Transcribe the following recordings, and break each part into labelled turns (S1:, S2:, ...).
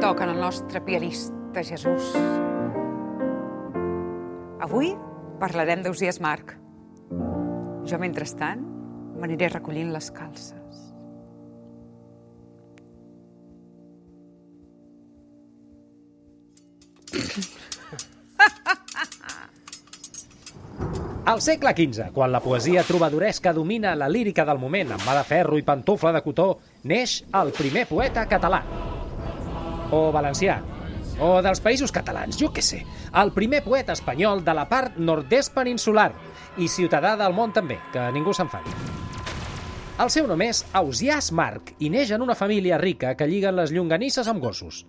S1: toc en el nostre pianista Jesús. Avui parlarem d'Ausias Marc. Jo, mentrestant, m'aniré recollint les calces.
S2: Al segle XV, quan la poesia trobadoresca domina la lírica del moment amb mà de ferro i pantufla de cotó, neix el primer poeta català. O valencià. O dels països catalans, jo què sé. El primer poeta espanyol de la part nord-est peninsular. I ciutadà del món també, que ningú se'n fa. El seu nom és Ausiàs Marc i neix en una família rica que lliguen les llonganisses amb gossos.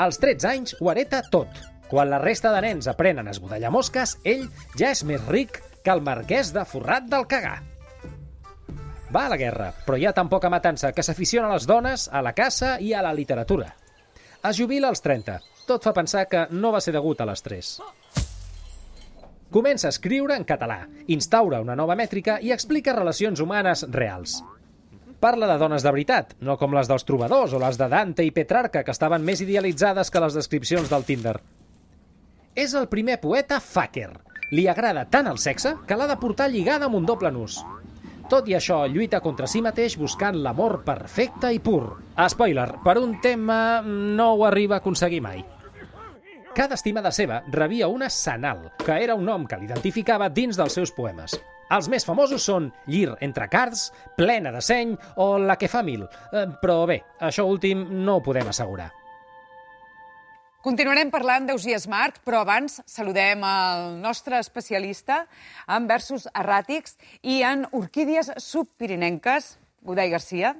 S2: Als 13 anys ho hereta tot. Quan la resta de nens aprenen a esbudellar mosques, ell ja és més ric que el marquès de Forrat del Cagà. Va a la guerra, però hi ha tan poca matança que s'aficiona a les dones, a la caça i a la literatura. Es jubila als 30. Tot fa pensar que no va ser degut a l'estrès. Comença a escriure en català, instaura una nova mètrica i explica relacions humanes reals parla de dones de veritat, no com les dels trobadors o les de Dante i Petrarca, que estaven més idealitzades que les descripcions del Tinder. És el primer poeta fucker. Li agrada tant el sexe que l'ha de portar lligada amb un doble nus. Tot i això, lluita contra si mateix buscant l'amor perfecte i pur. Spoiler, per un tema no ho arriba a aconseguir mai. Cada estimada seva rebia una Sanal, que era un nom que l'identificava dins dels seus poemes. Els més famosos són Llir entre cards, Plena de seny o La que fa mil. Eh, Però bé, això últim no ho podem assegurar.
S1: Continuarem parlant d'Ausias Marc, però abans saludem el nostre especialista en versos erràtics i en orquídies subpirinenques, Godai Garcia.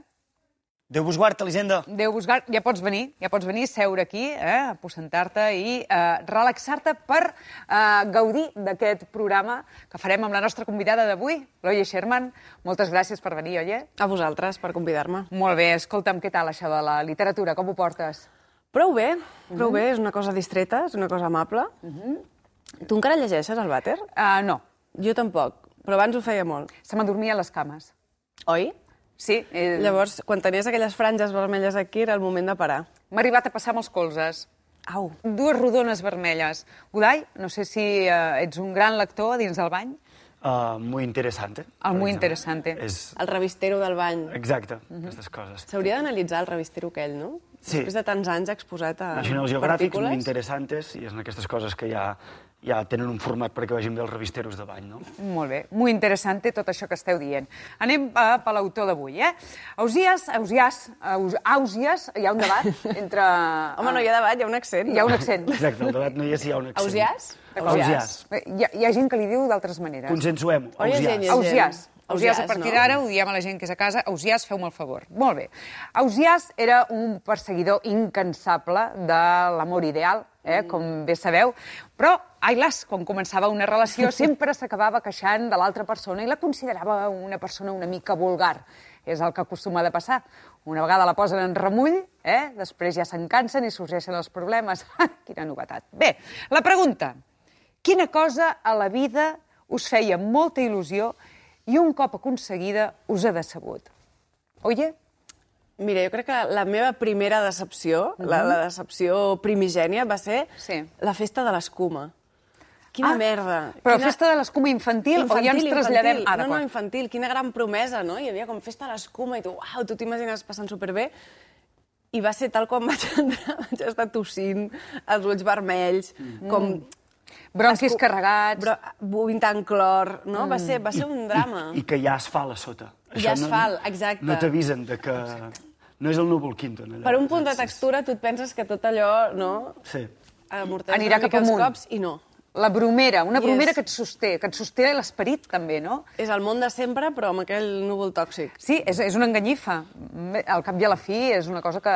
S3: Déu vos guard, Elisenda.
S1: Déu buscar, ja pots venir, ja pots venir, seure aquí, eh, aposentar-te i eh, relaxar-te per eh, gaudir d'aquest programa que farem amb la nostra convidada d'avui, l'Oye Sherman. Moltes gràcies per venir, Oye.
S4: A vosaltres, per convidar-me.
S1: Molt bé, escolta'm, què tal això de la literatura? Com ho portes?
S4: Prou bé, prou bé, és una cosa distreta, és una cosa amable. Tu encara llegeixes el vàter?
S1: Uh, no,
S4: Jo tampoc, però abans ho feia molt,
S1: se m'adormia a les cames.
S4: oi?
S1: Sí, eh,
S4: Mm. Llavors, quan tenies aquelles franges vermelles aquí, era el moment de parar.
S1: m'ha arribat a passar amb els colzes.
S4: Au.
S1: Dues rodones vermelles. Udai, no sé si eh, ets un gran lector a dins del bany.
S3: Uh, muy interesante.
S1: Ah, muy
S3: per
S1: interesante.
S3: exemple.
S4: eh.
S3: És...
S4: El revistero del bany.
S3: Exacte,
S4: Mhm.
S3: mm -hmm. aquestes coses.
S4: S'hauria d'analitzar el revistero aquell, no?
S3: Sí.
S4: Després de tants anys exposat a
S3: Nacionals geogràfics molt
S4: partícules.
S3: interessantes i és en aquestes coses que ja, ja tenen un format perquè vagin bé els revisteros de bany, no?
S1: Molt bé, molt interessant tot això que esteu dient. Anem eh, per l'autor d'avui, eh? Ausias, Ausias, Aus, Ausias, hi ha un debat entre...
S4: Home, no hi ha debat, hi ha un accent.
S1: Hi ha un accent.
S3: Exacte, el debat no hi és si hi ha un accent.
S4: Ausiàs?
S3: Ausiàs.
S1: Bé, Hi ha, hi ha gent que li diu d'altres maneres.
S3: Consensuem,
S4: Oi, gent,
S3: ausiàs.
S4: gent.
S1: Ausiàs. Ausiàs,
S4: Ausiàs,
S1: a partir
S4: no?
S1: d'ara, ho diem a la gent que és a casa, Ausiàs, feu-me el favor. Molt bé. Ausiàs era un perseguidor incansable de l'amor ideal, eh,
S4: Mm.
S1: com bé sabeu, però, ai las, quan començava una relació sempre s'acabava queixant de l'altra persona i la considerava una persona una mica vulgar. És el que acostuma de passar. Una vegada la posen en remull, eh, després ja se'n cansen i sorgeixen els problemes. Quina novetat. Bé, la pregunta. Quina cosa a la vida us feia molta il·lusió i un cop aconseguida us ha decebut? Oye?
S4: Mira, jo crec que la meva primera decepció, la, la decepció primigènia, va ser
S1: Sí.
S4: la festa de l'escuma. Quina
S1: Ah,
S4: merda!
S1: Però
S4: Quina...
S1: festa de l'escuma infantil, infantil, o ja ens traslladem...
S4: Infantil.
S1: Ah,
S4: no, no,
S1: d'acord.
S4: infantil, quina gran promesa, no? Hi havia com festa a l'escuma i tu, uau, tu t'imagines passant superbé. I va ser tal com vaig entrar, vaig estar tossint, els ulls vermells, mm. com...
S1: Bronquis
S4: escu-
S1: carregats...
S4: Bro, vomitant clor, no? Mm. Va, ser, va ser un drama.
S3: I que hi ha asfalt a sota.
S4: Hi ha asfalt, exacte.
S3: No t'avisen de que... No és el núvol Quinton, allò.
S4: Per un punt de textura tu et penses que tot allò, no?
S3: Sí.
S4: Amorteix
S1: Anirà
S4: una mica
S1: cap
S4: els
S1: amunt.
S4: cops i no.
S1: La bromera, una
S4: Yes.
S1: bromera que et sosté, que et sosté l'esperit, també, no?
S4: És el món de sempre, però amb aquell núvol tòxic.
S1: Sí, és, és una enganyifa. Mm, Al cap i a la fi és una cosa que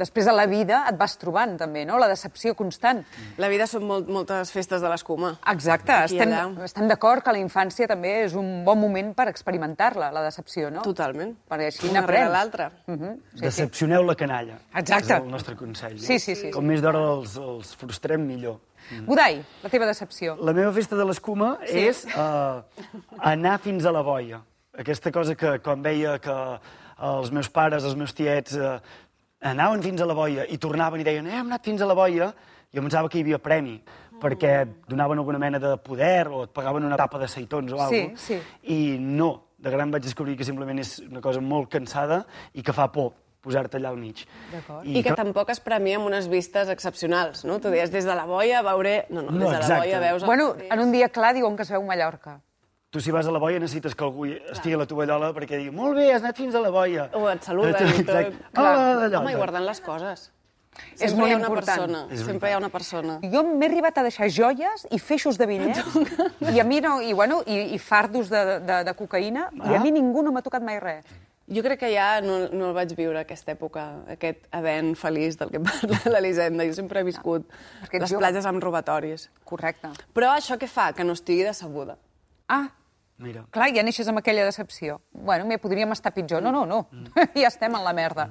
S1: després de la vida et vas trobant, també, no? La decepció constant.
S4: La vida són molt, moltes festes de l'escuma.
S1: Ah. Exacte,
S4: Aquí i
S1: estem,
S4: allà.
S1: estem d'acord que la infància també és un bon moment per experimentar-la, la decepció, no?
S4: Totalment.
S1: Perquè així
S4: Una
S1: n'aprens.
S4: rere l'altra.
S1: Uh -huh.
S3: Decepcioneu la canalla.
S1: Exacte.
S3: És el nostre consell. No?
S1: Sí, sí, sí.
S3: Com més d'hora els, els frustrem, millor.
S1: Budai, la teva decepció.
S3: Mm. La meva festa de l'escuma sí. és uh, anar fins a la eh, boia. Aquesta cosa que quan veia que els meus pares, els meus tiets, uh, anaven fins a la boia i tornaven i deien eh, hem anat fins a la boia, jo pensava que hi havia premi, perquè et donaven alguna mena de poder o et pagaven una tapa de seitons o
S1: Sí,
S3: alguna cosa.
S1: sí.
S3: I no, de gran vaig descobrir que simplement és una cosa molt cansada i que fa por posar-te allà al mig.
S1: D'acord.
S4: I, que tampoc es premia amb unes vistes excepcionals, no? Tu deies, des de la boia veuré... No, no,
S3: No,
S4: des de la
S3: exacte.
S4: boia veus... el
S1: Bueno,
S4: mateix.
S1: en un dia clar diuen que es veu Mallorca.
S3: Tu, si vas a la boia, necessites que algú hi- estigui a la tovallola perquè digui, molt bé, has anat fins a la boia.
S4: O et saluden i tot.
S3: Exacte. Ah,
S4: Clar.
S3: Hola, d'allò.
S4: Home, i guardant les coses. Sempre
S1: molt
S4: hi ha una
S1: important.
S4: Persona,
S3: És
S4: sempre hi ha una persona.
S1: Jo m'he arribat a deixar joies i feixos de vinyet, i a mi no, i, bueno, i, i fardos de, de, de cocaïna, i a
S3: Ah. Mm.
S1: mi ningú no m'ha tocat mai res.
S4: Jo crec que ja no, no el vaig viure, aquesta època, aquest event feliç del que parla l'Elisenda. Jo sempre he viscut
S1: Perquè ets
S4: les
S1: jove.
S4: platges amb robatoris.
S1: Correcte.
S4: Però això què fa? Que no estigui decebuda.
S1: Ah,
S3: Mira.
S1: clar, ja neixes amb aquella decepció. Bueno, mira, podríem estar pitjor. No, no, no, ja estem en la merda.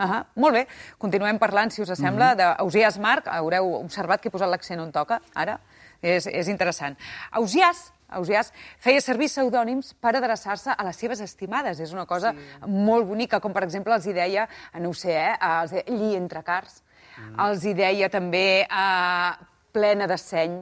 S1: Ahà, Molt bé, continuem parlant, si us sembla, d'Ausias Marc. Haureu observat que he posat l'accent on toca, ara. És, és interessant. Ausias, Ausias feia servir pseudònims per adreçar-se a les seves estimades. És una cosa sí. molt bonica, com per exemple els hi deia, no ho sé, eh, els deia Lli entre cars, els hi deia també eh, plena de seny.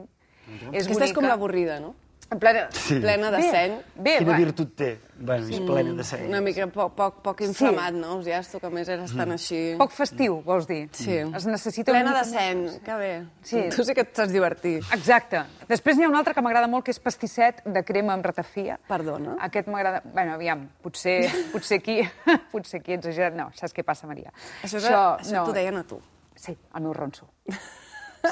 S1: És
S4: Aquesta és com
S1: bonica.
S4: l'avorrida, no?
S1: En plena...
S3: Sí.
S4: Plena de
S1: Bé,
S4: seny.
S1: Bé,
S3: Quina
S1: bueno.
S3: virtut té? Bueno, és plena de seny.
S4: Una mica poc, poc, poc inflamat, no? Els llaços que a més eres tan així...
S1: Poc festiu, vols dir?
S4: Eh? Sí.
S1: Es necessita...
S4: Plena
S1: una
S4: de
S1: mica
S4: seny, que bé.
S1: Sí.
S4: Tu sí que et saps divertir.
S1: més. Exacte. Després n'hi ha un altre que m'agrada molt, que és pastisset de crema amb ratafia.
S4: Perdona?
S1: Aquest m'agrada... Bueno, aviam, potser, potser aquí... potser aquí he exagerat. No, saps què passa, Maria?
S4: Això, això, això no. t'ho deien a tu.
S1: Sí, el meu ronso.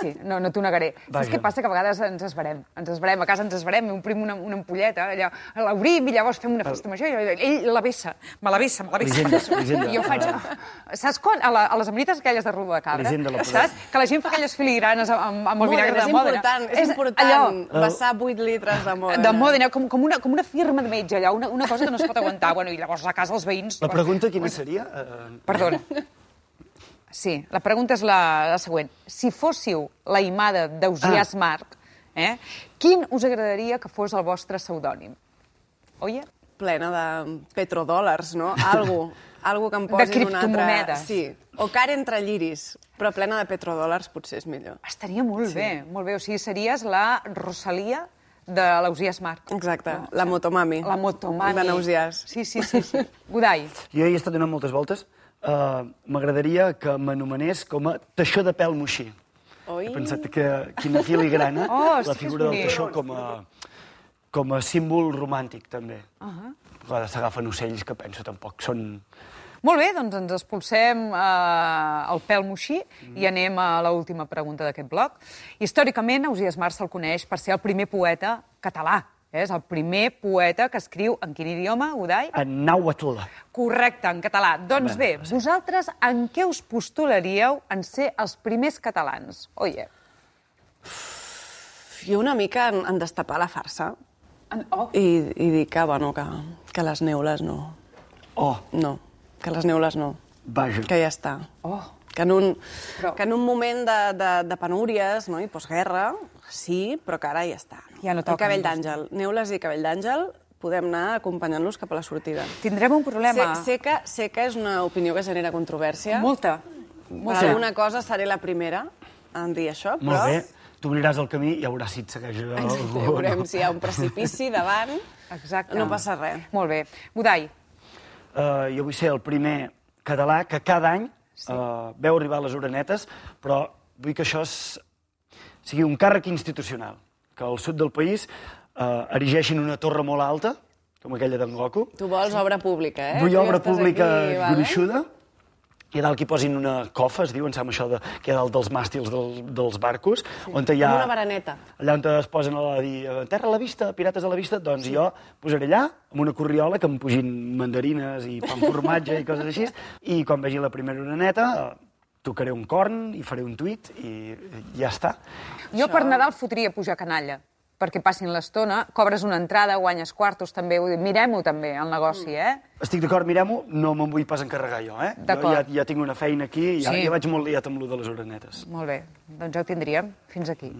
S1: Sí, no, no t'ho negaré. Saps
S3: Vaja.
S1: què passa? Que a vegades ens esbarem. Ens esbarem, a casa ens esbarem, i omplim una, una ampolleta, allò, l'obrim i llavors fem una festa major, i allò- ell la vessa, me la vessa, me la vessa.
S3: L'Hisenda, l'Hisenda.
S1: I jo faig... Saps quan? A, la, a les amanites aquelles de roba de cabra.
S3: L'Hisenda la podem.
S1: saps? Que la gent fa aquelles filigranes amb, amb el
S4: Mòdena,
S1: vinagre
S4: és
S1: de Mòdena.
S4: important, és, important
S1: Allò,
S4: vessar 8 litres de Mòdena.
S1: de Mòdena, com, com, una, com una firma de metge, allò, una, una cosa que no es pot aguantar. Bueno, I llavors a casa els veïns...
S3: La pregunta quina seria? Eh,
S1: Perdona. Sí, la pregunta és la, la següent. Si fóssiu la imada d'Ausias ah. Marc, eh, quin us agradaria que fos el vostre pseudònim? Oye?
S4: Plena de petrodòlars, no? Algo, algo que em posin una altra...
S1: criptomonedes.
S4: Sí, o cara entre lliris, però plena de petrodòlars potser és millor.
S1: Estaria molt sí. bé, molt bé. O sigui, series la Rosalia de l'Ausias Marc.
S4: Exacte, la motomami.
S1: La motomami.
S4: De Nausiàs.
S1: Sí, sí, sí. sí. Godai.
S3: jo hi he estat donant moltes voltes. Uh, M'agradaria que m'anomenés com a taixó de pèl moixí.
S4: Oi.
S3: He pensat que quina filigrana,
S1: Oh, sí que
S3: la
S1: és
S3: figura del
S1: bonic.
S3: taixó com a, com a símbol romàntic, també. Uh -huh. A vegades s'agafen ocells que penso tampoc són...
S1: Molt bé, doncs ens expulsem eh, el pèl moixí i anem a l'última pregunta d'aquest bloc. Històricament, Ausias Marc se'l coneix per ser el primer poeta català. Eh? És el primer poeta que escriu en quin idioma, Udai?
S3: En Nahuatl.
S1: Correcte, en català. Doncs bé,
S3: Bé, sí.
S1: vosaltres en què us postularíeu en ser els primers catalans? Oye.
S4: Jo una mica en, en destapar la farsa
S1: En, oh.
S4: i, i dir que, bueno, que, que les neules no.
S3: Oh,
S4: No, que les neules no.
S3: vaja.
S4: Que ja està.
S1: Oh.
S4: Que en un,
S1: Però-
S4: que en un moment de, de, de penúries no? i postguerra, sí, però que ara ja està.
S1: Ja no
S4: El
S1: toquen,
S4: cabell
S1: doncs.
S4: d'àngel. Neules i cabell d'àngel podem anar acompanyant-los cap a la sortida.
S1: Tindrem un
S4: Sé,
S1: problema.
S4: sé, que, sé que és una opinió que genera controvèrsia.
S1: Molta.
S4: Per
S1: Molta.
S4: alguna cosa seré la primera en dir això,
S3: Molt
S4: però...
S3: bé. Tu obriràs el camí i ja veuràs si et segueix algú
S4: Exacte,
S3: o
S4: veurem
S3: no.
S4: si hi ha un precipici davant.
S1: Exacte.
S4: No passa res.
S1: Molt bé. Budai,
S3: Eh, jo vull ser el primer català que cada any sí. veu arribar a les orenetes, però vull que això es... sigui un càrrec institucional, que al sud del país eh, erigeixin una torre molt alta, com aquella d'en Goku,
S4: Tu vols obra pública, eh?
S3: vull
S4: Tu ja
S3: obra
S4: estàs
S3: pública
S4: aquí, vale?
S3: gruixuda, i a dalt que hi posin una cofa, es diu, em sembla això, de, que hi ha dalt dels màstils del, dels barcos, sí. on hi ha...
S4: Com una baraneta.
S3: Allà on es posen a, la, a dir eh, terra a la vista, pirates a la vista, doncs sí. jo posaré allà amb una corriola que em pugin mandarines i pa amb formatge i coses així, i quan vegi la primera oreneta eh, tocaré un corn i faré un tuit i ja està.
S1: Jo per Nadal fotria pujar canalla perquè passin l'estona, cobres una entrada, guanyes quartos també, vull dir, mirem-ho també, el negoci,
S3: Mm.
S1: eh?
S3: Estic d'acord, mirem-ho, no me'n vull pas encarregar jo, eh? Jo
S1: D'acord.
S3: ja, ja tinc una feina aquí, ja,
S1: Sí.
S3: ja vaig molt liat amb lo de les orenetes.
S1: Molt bé, doncs ja ho tindríem, fins aquí.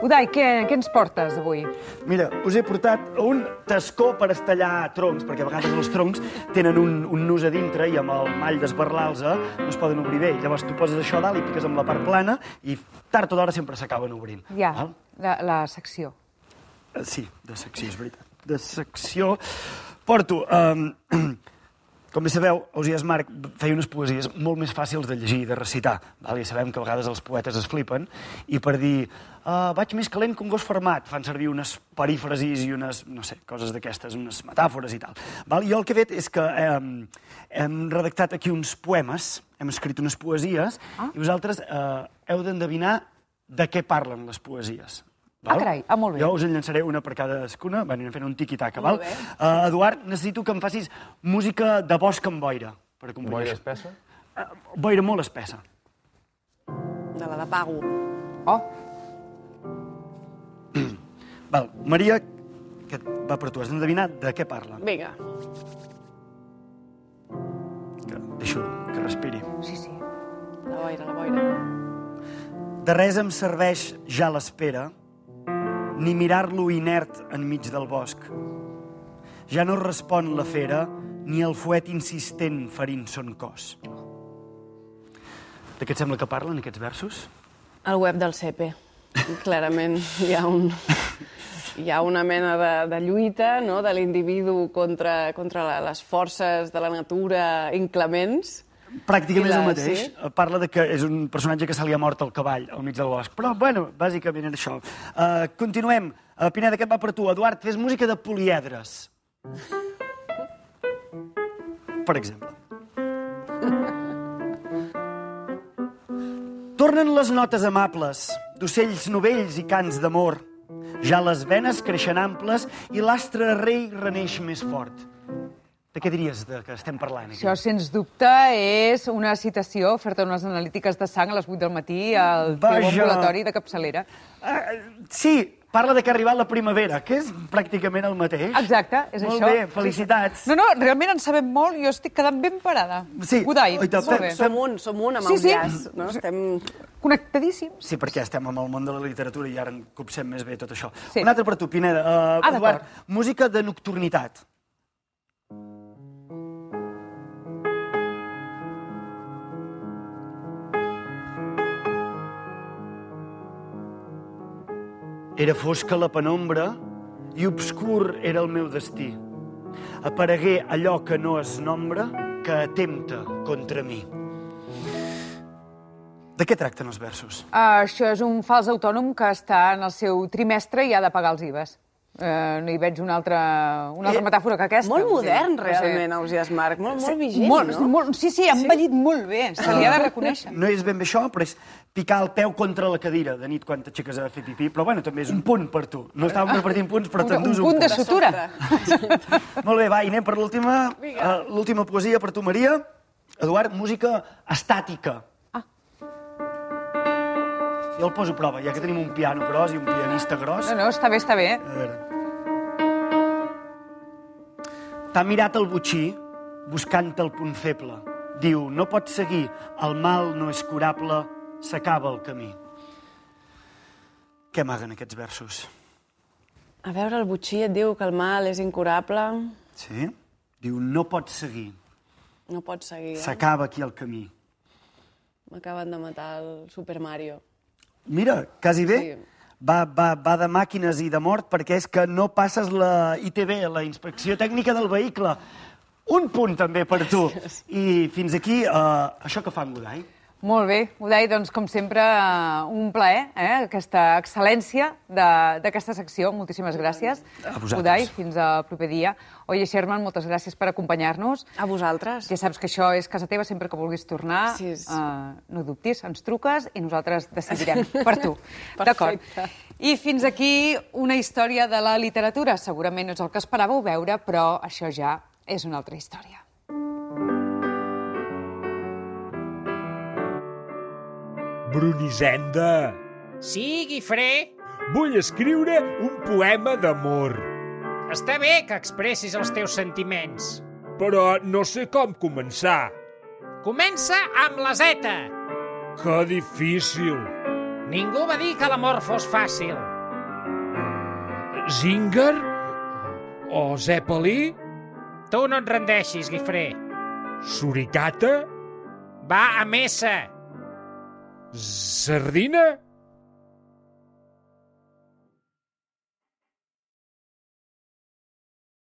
S1: Udai, què, què ens portes avui?
S3: Mira, us he portat un tascó per estallar troncs, perquè a vegades els troncs tenen un, un nus a dintre i amb el mall d'esbarlar-los no es poden obrir bé. Llavors tu poses això a dalt i piques amb la part plana i tard o d'hora sempre s'acaben obrint.
S1: Ja,
S3: Val?
S1: la, la secció.
S3: Eh, Sí, de secció, és veritat. De secció... Porto... Um, com bé sabeu, Ausias Marc feia unes poesies molt més fàcils de llegir i de recitar. Val? Ja sabem que a vegades els poetes es flipen i per dir uh, vaig més calent que un gos fermat fan servir unes perífrasis i unes, no sé, coses d'aquestes, unes metàfores i tal. Val? Jo el que he fet és que um, hem redactat aquí uns poemes, hem escrit unes poesies ah. i vosaltres uh, heu d'endevinar de què parlen les poesies.
S1: Ah, carai, ah, molt bé.
S3: Jo us en llançaré una per cadascuna, van anar fent un tiqui-taca, val?
S4: Molt bé.
S3: Uh, Eduard, necessito que em facis música de bosc amb boira, per
S5: Boira
S3: acompanyar. Boira,
S5: espessa?
S3: espe... boira molt espessa.
S4: De la de pago.
S1: Oh,
S3: Val, Maria, que va per tu, has d'endevinar de què parla.
S4: Vinga.
S3: Que deixo que respiri.
S1: sí, sí.
S4: La boira, la boira.
S3: De res em serveix ja l'espera, ni mirar-lo inert enmig del bosc. Ja no respon la fera, ni el fuet insistent ferint son cos. De què et sembla que parlen aquests versos?
S4: El web del CP. Clarament hi ha, un, hi ha una mena de, de lluita no? de l'individu contra, contra la, les forces de la natura inclements.
S3: Pràcticament
S4: I
S3: és
S4: la-
S3: el mateix.
S4: sí?
S3: Sí? Parla de que és un personatge que se li ha mort el cavall al mig del bosc. Però, bueno, bàsicament era això. Uh, continuem. Uh, Pineda, aquest va per tu. Eduard, fes música de poliedres. Per exemple. Tornen les notes amables d'ocells novells i cants d'amor. Ja les venes creixen amples i l'astre rei reneix més fort. De què diries de que estem parlant aquí?
S1: Això, sens dubte, és una citació, fer-te unes analítiques de sang a les 8 del matí al teu
S3: Vaja.
S1: ambulatori de capçalera.
S3: Uh, sí, parla de que ha arribat la primavera, que és pràcticament el mateix.
S1: Exacte, és
S3: Molt
S1: això.
S3: Molt bé, felicitats.
S1: No, no, realment en sabem molt, jo estic quedant ben parada.
S3: Sí,
S1: Udai,
S3: oi, tant,
S1: molt bé.
S3: Fem-
S4: Som un, som un amb
S1: Sí,
S4: sí,
S1: sí.
S4: sí. No? Estem...
S1: Connectadíssims.
S3: Sí, perquè estem amb el món de la literatura i ara en copsem més bé tot això.
S1: Sí.
S3: Sí. Un altre per tu, Pineda. Uh,
S1: Ah,
S3: Eduard,
S1: d'acord.
S3: música de nocturnitat. Era fosca la penombra i obscur era el meu destí. Aparegué allò que no es nombra, que atempta contra mi. De què tracten els versos?
S1: Uh, això és un fals autònom que està en el seu trimestre i ha de pagar els IVAs. Uh, no hi veig una altra, una altra
S3: Eh,
S1: metàfora que aquesta.
S4: Molt
S1: o sigui,
S4: modern,
S1: no sé.
S4: realment, Ausias Marc. Molt, molt vigent,
S1: molt,
S4: no?
S1: molt, sí, sí, ha envellit molt bé, se li ha de reconèixer.
S3: No és ben bé això, però és picar el peu contra la cadira de nit quan t'aixeques a fer pipí, però bueno, també és un punt per tu. No estàvem repartint punts, però
S1: Un, un
S3: t'endús un,
S1: punt de
S3: punt.
S1: sutura.
S3: Molt bé, va, i anem per l'última uh, l'última poesia per tu, Maria. Eduard, música estàtica.
S1: Ah.
S3: Jo el poso a prova, ja que tenim un piano gros i un pianista gros.
S1: No, no, està bé, està bé.
S3: A veure. T'ha mirat el butxí buscant el punt feble. Diu, no pots seguir, el mal no és curable, s'acaba el camí. Què amaguen aquests versos?
S4: A veure, el butxí et diu que el mal és incurable.
S3: Sí? Diu, no pots seguir,
S4: No pots seguir. Eh?
S3: s'acaba aquí el camí.
S4: M'acaben de matar el Super Mario.
S3: Mira, quasi bé.
S4: Sí.
S3: Va, va, va de màquines i de mort perquè és que no passes la ITB, la Inspecció Tècnica del Vehicle. Un punt també per tu. I fins aquí, uh, això que fa en Godai.
S1: Molt bé, Udai, doncs com sempre eh, un plaer, eh? aquesta excel·lència de- d'aquesta secció. Moltíssimes gràcies.
S3: A vosaltres.
S1: Udai, fins al proper dia. Oye, Sherman, moltes gràcies per acompanyar-nos.
S4: A vosaltres?
S1: Ja saps que això és casa teva, sempre que vulguis tornar,
S4: Sí, sí.
S1: eh, no dubtis, ens truques i nosaltres decidirem per tu. D'acord. I fins aquí una història de la literatura. Segurament no és el que esperàveu veure, però això ja és una altra història.
S6: Brunisenda.
S2: Sí, Guifré,
S6: Vull escriure un poema d'amor,
S2: està bé que expressis els teus sentiments.
S6: però no sé com començar.
S2: Comença amb la Z.
S6: Que difícil.
S2: Ningú va dir que l'amor fos fàcil. Zinger? O Zeppelí?
S7: Tu no et rendeixis, Guifré.
S2: Suricata?
S7: Va a messa.
S2: Sardina?